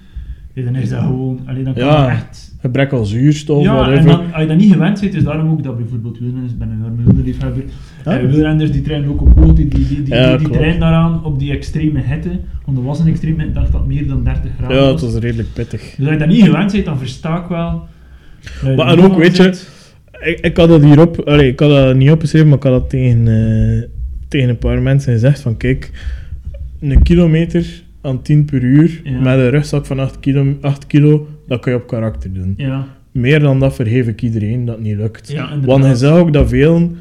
ja, dan is dat gewoon, alleen dan kan Ja. dat echt. gebrek aan zuurstof, Ja, en whatever. dan, als je dat niet gewend bent, is daarom ook dat bijvoorbeeld wielrenners, ik ben een enorme wielrenliefhebber, Ja. eh, wielrenners die trainen ook op rood, die, die, die, die, Ja, die klopt. trainen daaraan op die extreme hitte. Want er was een extreme hitte, ik dacht dat meer dan 30 graden Ja, was. het was redelijk pittig. Dus als je dat niet gewend bent, dan versta ik wel. eh, Maar de en man ook, weet je, zit. Ik, ik had dat hierop, allee, ik had dat niet opgeschreven, maar ik had dat tegen, eh, tegen een paar mensen gezegd: van kijk, een kilometer aan 10 per uur Ja. met een rugzak van 8 kilo, 8 kilo, dat kun je op karakter doen. Ja, Meer dan dat vergeef ik iedereen dat het niet lukt. ja, inderdaad. Want je zag ook dat velen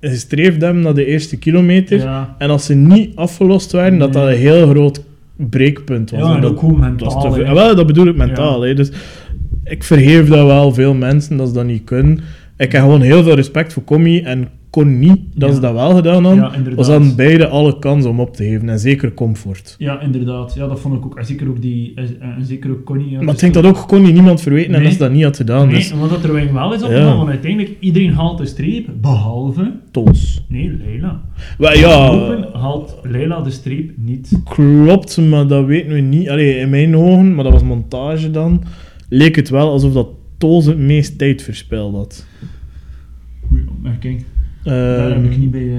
gestreefd hebben naar de eerste kilometer. Ja, En als ze niet afgelost waren, dat dat Nee. een heel groot breekpunt was. ja En en dat- ook gewoon dat is mentaal. te veel. hè. Ah, Wel, dat bedoel ik mentaal. Hè. Dus ik vergeef dat wel veel mensen dat ze dat niet kunnen. Ik heb gewoon heel veel respect voor Commie en kon niet dat Ja. ze dat wel gedaan hadden. Ja, inderdaad. was aan beide alle kansen om op te geven en zeker comfort. Ja, inderdaad. Ja, dat vond ik ook. En zeker ook die, en, en zeker ook Connie. ja, maar ik dus denk dat ook Connie niemand verweten en Nee. dat ze dat niet had gedaan. Nee, Dus want dat er wijn wel is opgevallen, Ja. want uiteindelijk iedereen haalt de streep, behalve... toos. Nee, Leila. Wel, Ah, ja, Lopen haalt Leila de streep niet. klopt, maar dat weten we niet. Allee, in mijn ogen, maar dat was montage dan. leek het wel alsof dat Toos het meest tijd verspeld had. Goeie opmerking. Ehm, Daar heb ik niet bij...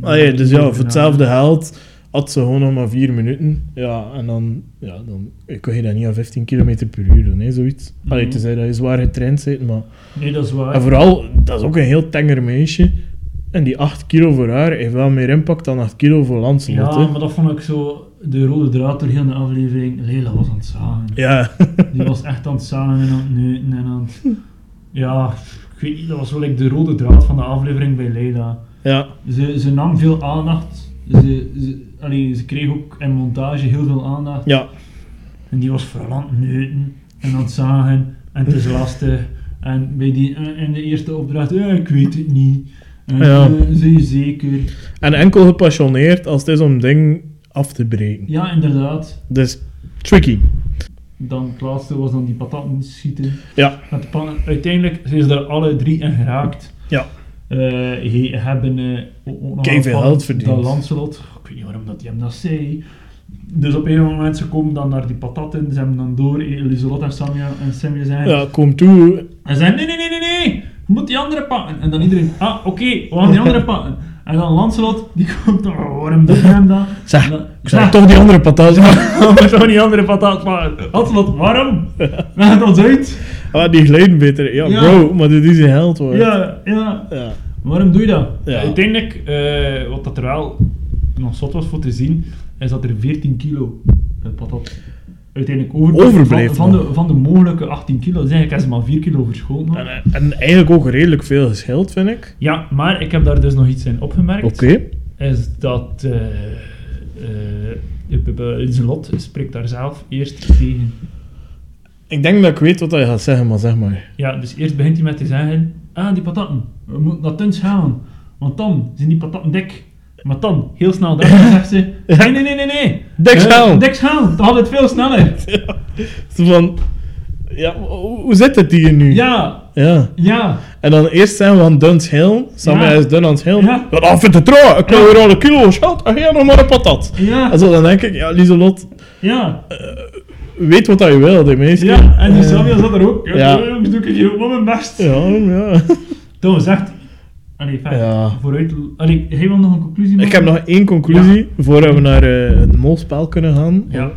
eh, ah, ja, dus ja, gedaan. voor hetzelfde geld had ze gewoon nog maar vier minuten. Ja, en dan, ja, dan kun je dat niet aan 15 km per uur doen, hè, zoiets. Allee, Mhm. tenzij dat je zwaar getraind bent, maar... Nee, dat is waar. En vooral, dat is ook een heel tenger meisje. En die 8 kilo voor haar heeft wel meer impact dan 8 kilo voor Lancelot, Ja, ja, maar dat vond ik zo de rode draad door heel de aflevering. Leila was aan het zagen. Ja. Die was echt aan het zagen en aan het neuten en aan het... Ja, ik weet niet, dat was wel like de rode draad van de aflevering bij Leila. ja. Ze, ze nam veel aandacht. Ze, ze, allee, ze kreeg ook in montage heel veel aandacht. Ja. En die was vooral aan het neuten en aan het zagen. En het is lastig. En bij die, in de eerste opdracht, eh, ik weet het niet. En, Ja. eh, zie je zeker? En enkel gepassioneerd als het is om ding af te breken. Ja, inderdaad. Dus, tricky. Dan het laatste was dan die patatten schieten. Ja. Met de pannen. Uiteindelijk zijn ze daar alle drie in geraakt. Ja. Eh, die hebben eh, ook nog Kei veel een geld pad, verdiend. Dat Lancelot. Ik weet niet waarom dat die hem dat zei. Dus op een moment ze komen dan naar die patatten. Ze hebben dan door Eliselot en Samia en Samia zijn. Ja, kom toe. En ze zeggen nee, nee, nee, nee, nee. Je moet die andere pakken. En dan iedereen, ah oké, we gaan die andere pakken. En dan Lancelot, die komt, oh, waarom doet hij hem dat? Zeg, En dan- ik zou Ja. toch die andere patat maken. We moeten toch niet andere patat maken. Lancelot, waarom? Leg het ons uit. Ah, die glijden beter. Ja, Ja. bro, maar dit is een held hoor. Ja, ja. Ja. Waarom doe je dat? Ja. Uiteindelijk, eh, wat dat er wel nog zot was voor te zien, is dat er 14 kilo eh, patat uiteindelijk overbleef. Overbleef Van, van, nog. de, van de mogelijke 18 kilo. Dus eigenlijk is er maar 4 kilo verschoten. nog. En, en eigenlijk ook redelijk veel geschild, vind ik. Ja, maar ik heb daar dus nog iets in opgemerkt. Oké. Is dat... eh eh, Lieselot spreekt daar zelf eerst tegen. Ik denk dat ik weet wat hij gaat zeggen, maar zeg maar. Ja, dus eerst begint hij met te zeggen: Ah, die patatten, we moeten naar Tuns gaan. Want dan zijn die patatten dik. Maar dan, heel snel daarna zegt ze: Nee, nee, nee, nee, nee. Dik Eh, snel." Dik snel, dan had het veel sneller. Zo van, ja, hoe hoe zit het hier nu? Ja, Ja. ja. En dan eerst zijn we aan Duns Hill. Samen Ja. is Dun aan het Hill. Ja. Ja. Dat vindt het trouw. Ik Ja. wil weer al een kilo geld. En jij nog maar een patat. Ja, En zo dan denk ik, ja, Lieselot, ja, weet wat hij wil, de meeste. ja. En die Eh, Samia zat er ook. Ja, ja. jongens, doe ik het hier ook wel mijn best. Ja, ja. Toen was echt. Allee, fijn. Ja. Vooruit. Allee, hij wil nog een conclusie maken. Ik heb nog één conclusie voordat we naar eh, het molspel kunnen gaan. Ja,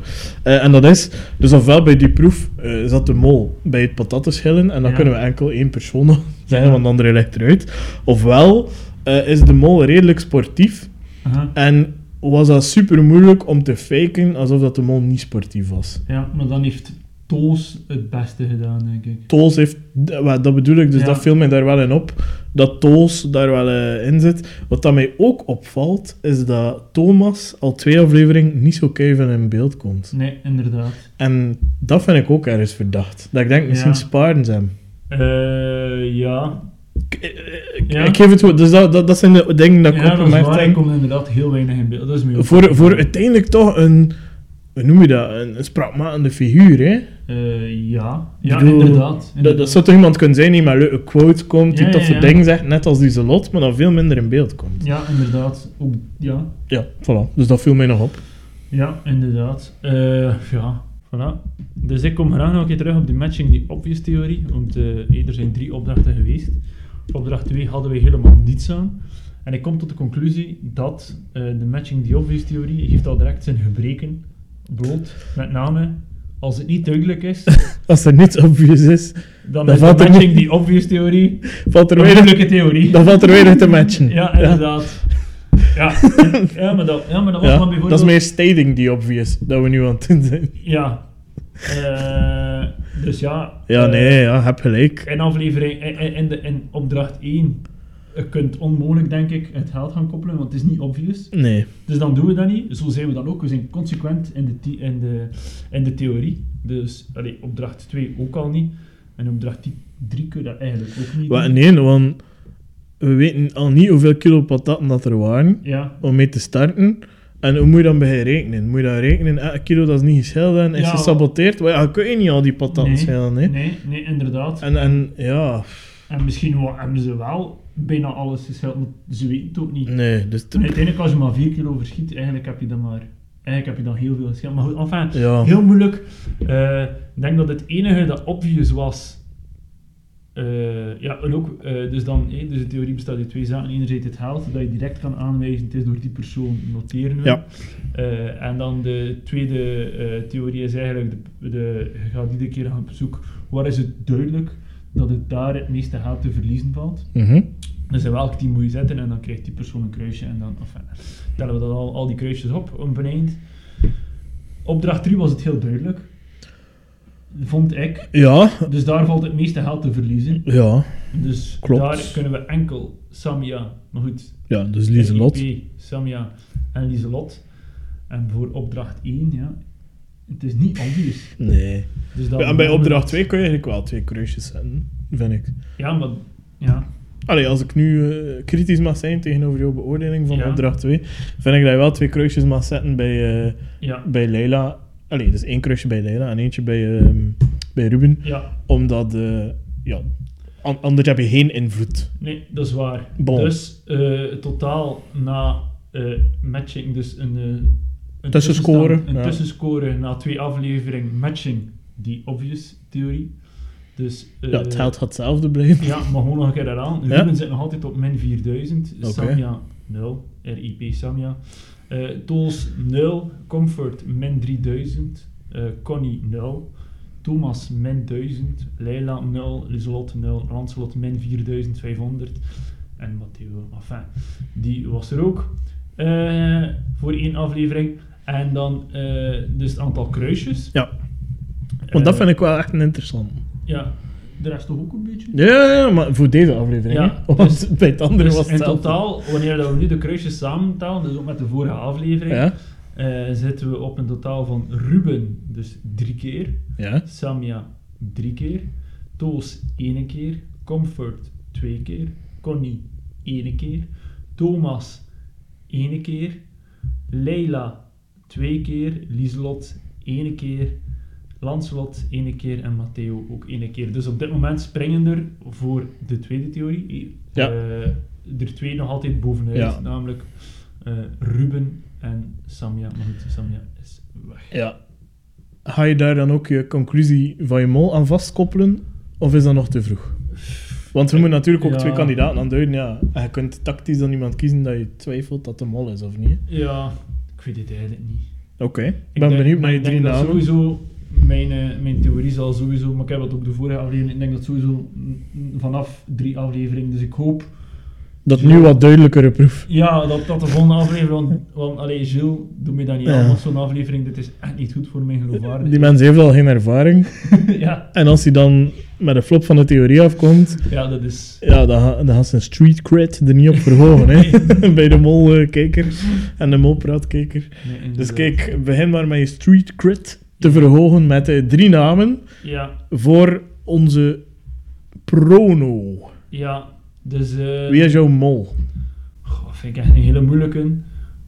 Eh, en dat is, dus ofwel bij die proef eh, zat de mol bij het patattenschillen en dan Ja. kunnen we enkel één persoon nog zijn, want de andere ligt eruit. Ofwel eh, is de mol redelijk sportief aha. en was dat super moeilijk om te faken alsof dat de mol niet sportief was. ja, maar dan heeft Toos het beste gedaan, denk ik. Toos heeft, d- wel, dat bedoel ik, dus Ja. dat viel mij daar wel in op, dat Toos daar wel eh, in zit. Wat dat mij ook opvalt, is dat Thomas al twee afleveringen niet zo keihard in beeld komt. Nee, inderdaad. En dat vind ik ook ergens verdacht. Dat ik denk, misschien Ja. sparen ze hem. Eh ja, Ik, eh, ik- Ja. ik geef het woord. Dus dat, dat, dat zijn de dingen dat ik ja, dat is opgemerkt waar. Ik heb. kom inderdaad heel weinig in beeld. Dat is me ook Voor, voor opgevallen. uiteindelijk toch een, hoe noem je dat, een, een spraakmakende figuur, hè? Eh, ja, ja bedoel, inderdaad. Dat, dat zou toch iemand kunnen zijn die met leuke quotes komt, die Ja, ja, toffe ja. dingen zegt, net als die Zelot, maar dan veel minder in beeld komt. Ja, inderdaad. Ook, ja. Ja, voilà. Dus dat viel mij nog op. ja, inderdaad. Eh, ja, voilà. Dus ik kom graag nog een keer terug op die matching die obvious theorie. Want eh, hé, er zijn drie opdrachten geweest. Opdracht 2 hadden we helemaal niets aan. En ik kom tot de conclusie dat eh, de matching the obvious theorie geeft al direct zijn gebreken bloot. Met name als het niet duidelijk is, Als er niets obvious is, dan Dan is de valt er matching niet- the obvious theorie valt er Een weinig, moeilijke theorie. dan valt er weinig te matchen. Ja, inderdaad. Ja, ja, maar, dat, ja maar dat was Ja, maar dat bijvoorbeeld... is meer stating die obvious, dat we nu aan het doen zijn. Ja. Eh, dus ja... Ja, eh, nee, ja, heb gelijk. In aflevering... In, in- in, de, in opdracht 1... Je kunt onmogelijk, denk ik, het geld gaan koppelen, want het is niet obvious. Nee. Dus dan doen we dat niet. Zo zijn we dan ook. We zijn consequent in de, the- in de, in de theorie. Dus allee, opdracht 2 ook al niet. En opdracht 3 kun je dat eigenlijk ook niet Wa- doen. nee, want we weten al niet hoeveel kilo patatten dat er waren Ja. om mee te starten. En hoe moet je dan bij rekenen? Moet je dan rekenen, elk kilo dat is niet geschilderd en is Ja. gesaboteerd? Want ja, kun je niet al die patatten Nee, schillen, hè? nee, nee, inderdaad. En, en ja, En misschien wa- hebben ze wel bijna alles gescheld, maar ze weten het ook niet. nee, dus... En uiteindelijk, als je maar 4 kilo verschiet, eigenlijk heb je dan maar Eigenlijk heb je dan heel veel verschillen. Maar goed, enfin, Ja. heel moeilijk. Eh, ik denk dat het enige dat obvious was. eh, ja, en ook, eh, dus dan, eh, dus de theorie bestaat uit twee zaken. Enerzijds het health, dat je direct kan aanwijzen, het is door die persoon, noteren we. Ja. Eh, en dan de tweede eh, theorie is eigenlijk, de, de, je gaat iedere keer gaan op zoek, waar is het duidelijk dat het daar het meeste geld te verliezen valt. Mhm. Dus in welk team moet je zetten en dan krijgt die persoon een kruisje en dan enfin, tellen we dat al, al die kruisjes op op een eind. Opdracht 3 was het heel duidelijk, vond ik. Ja, Dus daar valt het meeste geld te verliezen. ja, Dus Klopt. daar kunnen we enkel Samia, maar goed, ja, dus Lieselot. RIP, Samia en Lieselot. En voor opdracht 1, ja, het is niet obvious. Nee. Dus dat Ja, en bij opdracht 2 kun je eigenlijk wel twee kruisjes zetten, vind ik. Ja, maar ja, Allee, als ik nu eh, kritisch mag zijn tegenover jouw beoordeling van Ja. opdracht 2, vind ik dat je wel twee kruisjes mag zetten bij, eh, ja, bij Leila. Allee, dus één kruisje bij Leila en eentje bij, ehm, bij Ruben. ja, Omdat, eh, ja, an- anders heb je geen invloed. nee, dat is waar. Bon. Dus eh, totaal na eh, matching, dus een, eh, een Tussenscore, tussenstand- Een ja. tussenscore na twee afleveringen matching die obvious theorie. Dus, eh, ja, het geld gaat hetzelfde blijven. Ja, maar gewoon nog een keer herhalen. Ja? Ruben zit nog altijd op min 4000. Oké. Samia 0. RIP Samia. Eh Tools 0. Comfort min 3000. Eh, Connie 0. Thomas min 1000. Leila 0. Lislot 0. Lancelot min 4500. En Matteo, enfin, die was er ook. eh, voor één aflevering. En dan eh, dus het aantal kruisjes. Ja, want dat Eh, vind ik wel echt een interessant. Ja, de rest toch ook een beetje? Ja, ja, ja, maar voor deze aflevering. Ja, hè. Want bij het andere Dus was in het hetzelfde. totaal, wanneer dat we nu de kruisjes samentellen, dus ook met de vorige aflevering, Ja, eh, zitten we op een totaal van Ruben, dus drie keer, ja. Samia drie keer, Toos één keer, Comfort twee keer, Connie één keer, Thomas één keer, Leila twee keer, Lieslot één keer, Lanslot één keer en Matteo ook één keer. Dus op dit moment springen er voor de tweede theorie Ja. eh, er twee nog altijd bovenuit, Ja. namelijk eh, Ruben en Samia. Maar goed, Samia is weg. Ja. Ga je daar dan ook je conclusie van je mol aan vastkoppelen? Of is dat nog te vroeg? Want we moeten natuurlijk ook Ja. twee kandidaten aanduiden. Ja. En je kunt tactisch dan iemand kiezen dat je twijfelt dat de mol is of niet. hè. Ja, ik weet het eigenlijk niet. Oké, ik ben denk- benieuwd naar je ik denk drie dat namen. Sowieso, mijn, eh, mijn theorie zal sowieso, maar ik heb het ook de vorige aflevering, ik denk dat sowieso mm, mm, vanaf drie afleveringen, dus ik hoop Dat nu wat duidelijkere proef. ja, dat, dat de volgende aflevering, want, want allee, Gilles, doe me dat niet Ja. aan, want zo'n aflevering, dit is echt niet goed voor mijn geloofwaardigheid. Die mens heeft al geen ervaring. ja, En als hij dan met een flop van de theorie afkomt, ja, dat is... ja, dan, ga- dan gaat zijn street cred er niet op verhogen. Hè? Bij de mol-kijker en de molpraatkijker. nee, Dus inderdaad. kijk, begin maar met je street cred te verhogen met eh, drie namen Ja, voor onze prono. ja, dus... eh, Wie is jouw mol? Goh, vind ik echt een hele moeilijke.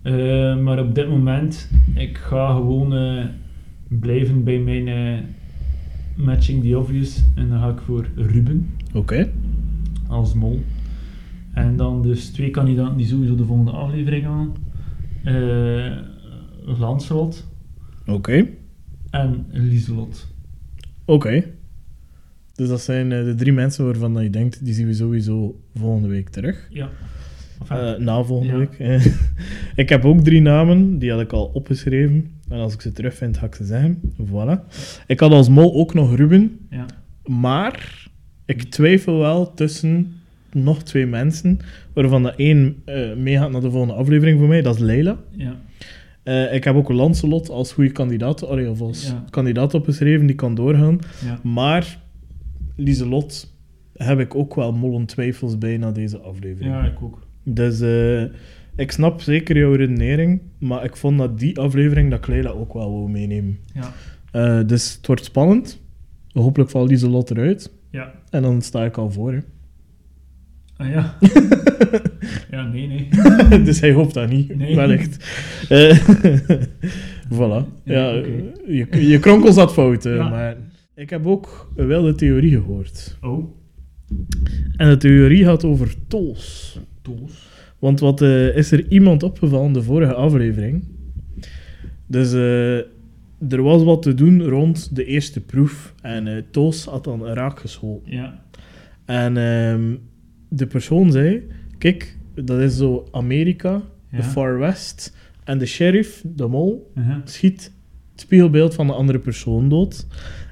Eh, maar op dit moment, ik ga gewoon eh, blijven bij mijn eh, matching the obvious. En dan ga ik voor Ruben Oké. als mol. En dan dus twee kandidaten die sowieso de volgende aflevering gaan. Eh Lanslot Oké. en Lieselot. Oké. Dus dat zijn eh, de drie mensen waarvan dat je denkt, die zien we sowieso volgende week terug. Ja. Enfin, Eh, na volgende Ah. Ja. week. eh. ik heb ook drie namen, die had ik al opgeschreven. En als ik ze terugvind, ga ik ze zeggen. Voilà. Ik had als mol ook nog Ruben. ja. Maar ik twijfel wel tussen nog twee mensen, waarvan de één eh, meegaat naar de volgende aflevering voor mij, dat is Leila. Ja. Eh, ik heb ook Lancelot als goede kandidaat, allee, of als Ja. kandidaat opgeschreven, die kan doorgaan. Ja. Maar Lieselot heb ik ook wel mollen twijfels bij na deze aflevering. ja, ik ook. Dus eh, ik snap zeker jouw redenering, maar ik vond dat die aflevering dat ik Leila ook wel wou meenemen. Ja. Eh, dus het wordt spannend. Hopelijk valt Lieselot eruit. Ja. En dan sta ik al voor. hè. Ah, ja. ja, nee, nee. dus hij hoopt dat niet, Nee. wellicht. Eh, voilà. Ja, Ja, oké. je, je kronkels had fout, eh, Ja. maar... Ik heb ook wel de theorie gehoord. Oh, En de theorie gaat over tolls. Toos. Want wat eh, is er iemand opgevallen de vorige aflevering? Dus eh, er was wat te doen rond de eerste proef. En eh, Toos had dan raak geschoten. Ja. En ehm, de persoon zei: Kijk, dat is zo Amerika, ja. de Far West. En de sheriff, de mol, Aha. schiet het spiegelbeeld van de andere persoon dood.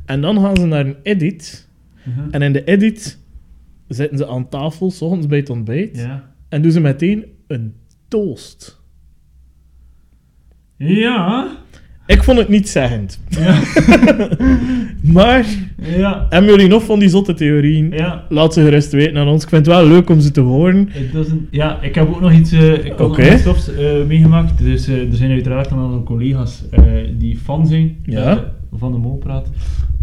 En dan gaan ze naar een edit. Aha. En in de edit zitten ze aan tafel, s ochtends bij het ontbijt. Ja. En doen ze meteen een toast. Ja. Ik vond het niet zeggend. Ja. Maar, Ja. hebben jullie nog van die zotte theorieën? Ja. Laat ze gerust weten aan ons. Ik vind het wel leuk om ze te horen. It doesn't- ja, ik heb ook nog iets, eh, ik had nog Oké. iets tofs eh, meegemaakt. Dus eh, er zijn uiteraard een aantal collega's eh, die fan zijn Ja. eh, van de Molpraat.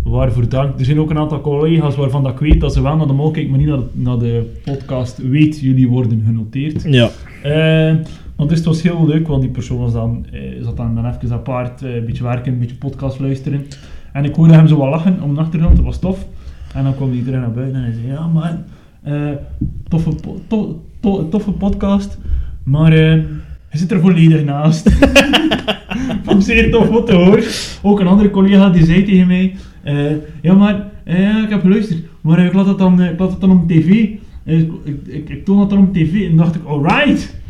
Waarvoor dank. Er zijn ook een aantal collega's waarvan dat ik weet dat ze wel naar de Mol kijken, maar niet naar de, naar de podcast. Weet, jullie worden genoteerd. Ja. Eh, want dus het was heel leuk, want die persoon was dan, eh, zat dan, dan even apart, eh, een beetje werken, een beetje podcast luisteren. En ik hoorde hem zo wat lachen om de achtergrond, dat was tof. En dan kwam hij terug naar buiten en hij zei, ja man, eh, toffe, po- to- to- toffe podcast, maar eh, hij zit er volledig naast. Vond ik zeer tof wat te horen. Ook een andere collega die zei tegen mij, eh, ja maar, eh, ik heb geluisterd, maar eh, ik laat dat dan, eh, ik laat dat dan op tv. Eh, Ik, ik, ik, ik toon dat dan op tv en dan dacht ik, alright.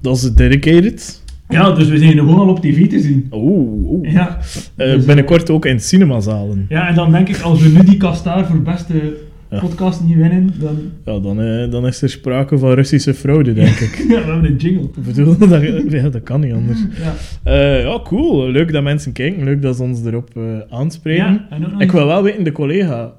Dat is dedicated. Ja, dus we zijn gewoon al op tv te zien. Oeh. oeh. Ja. Eh, Dus, binnenkort ook in cinemazalen. ja, en dan denk ik, als we nu die kast daar voor beste Ja. podcast niet winnen, dan... Ja, dan, eh, dan is er sprake van Russische fraude, denk ik. Ja, we hebben een jingle. ik bedoel, dat, ja, dat kan niet anders. Ja, Eh, ja, cool. Leuk dat mensen kijken. Leuk dat ze ons erop eh, aanspreken. ja en ook nog Ik iets- wil wel weten, de collega,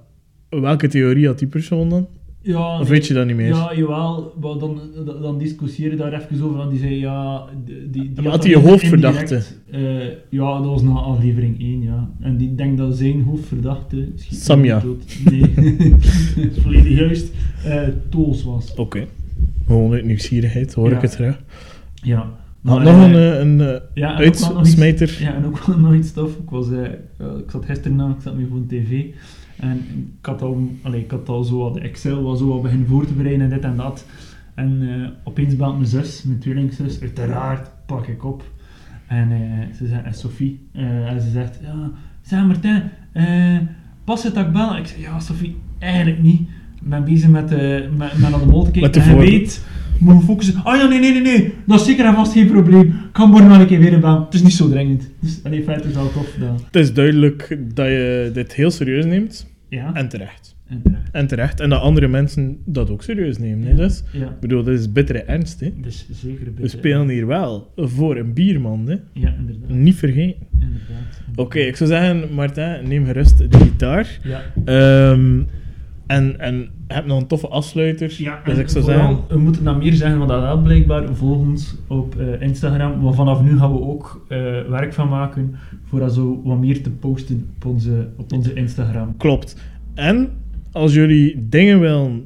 welke theorie had die persoon dan? Ja, Of Ah, nee. weet je dat niet meer? Ja, jawel. Maar dan, dan- dan discussiëren daar even over. En die zei, ja... Die, die, Maar had had dat hij een indirect, hoofdverdachte? eh, ja, dat was na aflevering 1, ja. En die denkt dat zijn hoofdverdachte... schiet Samja. hem dood. Nee. Dat is volledig juist. eh Toos was. Oké. Gewoon uit nieuwsgierigheid, hoor Ja. ik het graag. Ja. Had Maar, nog eh, een, eh, een eh, ja, en ook wel nog iets- uitsmijter. Ja, en ook wel nog iets tof. Ik, was, eh, eh, ik zat gisteren na, ik zat mee voor de tv. En ik had al, allee, ik had al zo wat, de Excel was zo wat begin voor te bereiden en dit en dat. En eh, opeens belt mijn zus, mijn tweelingzus, uiteraard pak ik op. En eh, ze zegt, en Sophie, eh, en ze zegt, ja, zeg Martijn, eh, past het dat ik bel? Ik zeg, ja Sophie, eigenlijk niet. Ik ben bezig met, eh met, met naar de mol te kijken. Met de en je voor- weet, moet je focussen. Oh ja, nee, nee, nee, nee. Dat is zeker en vast geen probleem. Ik kan morgen wel een keer weer bellen. Het is niet zo dringend. Dus allee, verder is wel tof gedaan. Het is duidelijk dat je dit heel serieus neemt. Ja. En terecht. En terecht. En terecht. En dat andere mensen dat ook serieus nemen. hè, Dus. Ja. Ik bedoel, dit is bittere ernst. Hè. Dus zeker een We beetje- spelen hier wel voor een bierman. Hè. Ja, inderdaad. Niet vergeten. inderdaad. Oké, ik zou zeggen, Martijn, neem gerust de gitaar. Ja. Ehm, en, en heb nog een toffe afsluiter. Ja, dus en ik zou vooral, zeggen... We moeten dan meer zeggen, want dat wel blijkbaar. Volg ons op eh, Instagram. Want vanaf nu gaan we ook eh, werk van maken. Voor dat zo wat meer te posten op onze, op onze Instagram. Klopt. En als jullie dingen willen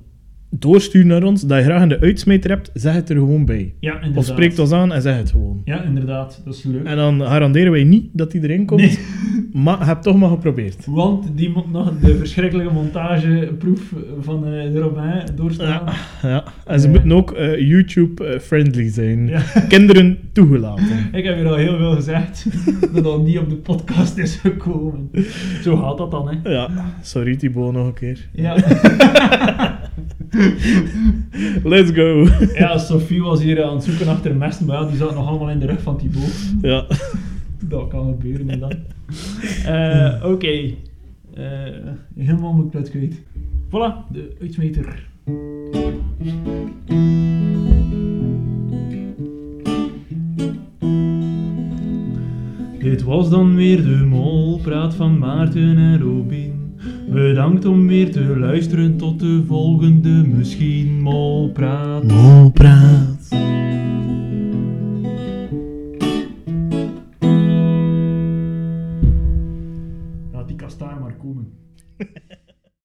doorsturen naar ons, dat je graag in de uitsmijter hebt, zeg het er gewoon bij. Ja, inderdaad. Of spreek ons aan en zeg het gewoon. Ja, inderdaad. Dat is leuk. En dan garanderen wij niet dat die erin komt, Nee. maar heb toch maar geprobeerd. Want die moet nog de verschrikkelijke montageproef van eh, de Robin doorstaan. Ja, ja. En ze Eh. moeten ook YouTube-friendly zijn. Ja. Kinderen toegelaten. Ik heb hier al heel veel gezegd dat al niet op de podcast is gekomen. Zo gaat dat dan, hè? Ja, sorry Thibaut nog een keer. Ja, Let's go. ja Sophie was hier aan het zoeken achter messen, maar ja, die zat nog allemaal in de rug van Thibaut. ja. Dat kan gebeuren en dan. Eh, Oké, Eh, helemaal moet ik dat kwijt. Voilà, de uitsmeter. Dit was dan weer de molpraat van Maarten en Robin. Bedankt om weer te luisteren tot de volgende misschien molpraat. Molpraat. Laat die kastaar maar komen.